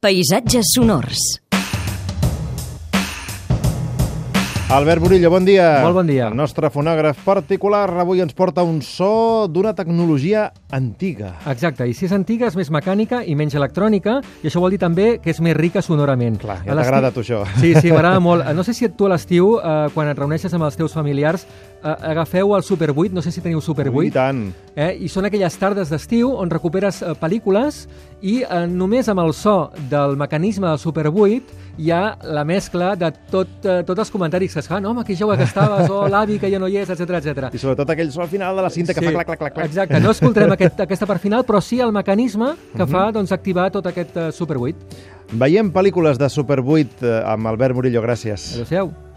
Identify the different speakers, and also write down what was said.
Speaker 1: Paisatges sonors.
Speaker 2: Albert Burillo, bon dia.
Speaker 3: Molt bon dia.
Speaker 2: El nostre fonògraf particular avui ens porta un so d'una tecnologia antiga.
Speaker 3: Exacte, i si és antiga és més mecànica i menys electrònica, i això vol dir també que és més rica sonorament.
Speaker 2: Clar, ja
Speaker 3: A l'estiu-
Speaker 2: t'agrada a tu això.
Speaker 3: Sí, sí, m'agrada molt. No sé si tu a l'estiu, eh, quan et reuneixes amb els teus familiars, eh, agafeu el Super 8, no sé si teniu Super 8,
Speaker 2: Ui, I tant.
Speaker 3: eh, i són aquelles tardes d'estiu on recuperes eh, pel·lícules i eh, només amb el so del mecanisme del Super 8 hi ha la mescla de tot, eh, tots els comentaris que es fan, home, que jove que estaves, o oh, l'avi que ja no hi és, etc etc.
Speaker 2: I sobretot aquell so al final de la cinta que fa clac, clac, clac, clac.
Speaker 3: Exacte, no escoltarem aquest, aquesta part final, però sí el mecanisme
Speaker 2: Mhm.
Speaker 3: que fa doncs, activar tot aquest eh, Super 8.
Speaker 2: Veiem pel·lícules de Super 8 eh, amb Albert Murillo, gràcies.
Speaker 3: Adéu-siau.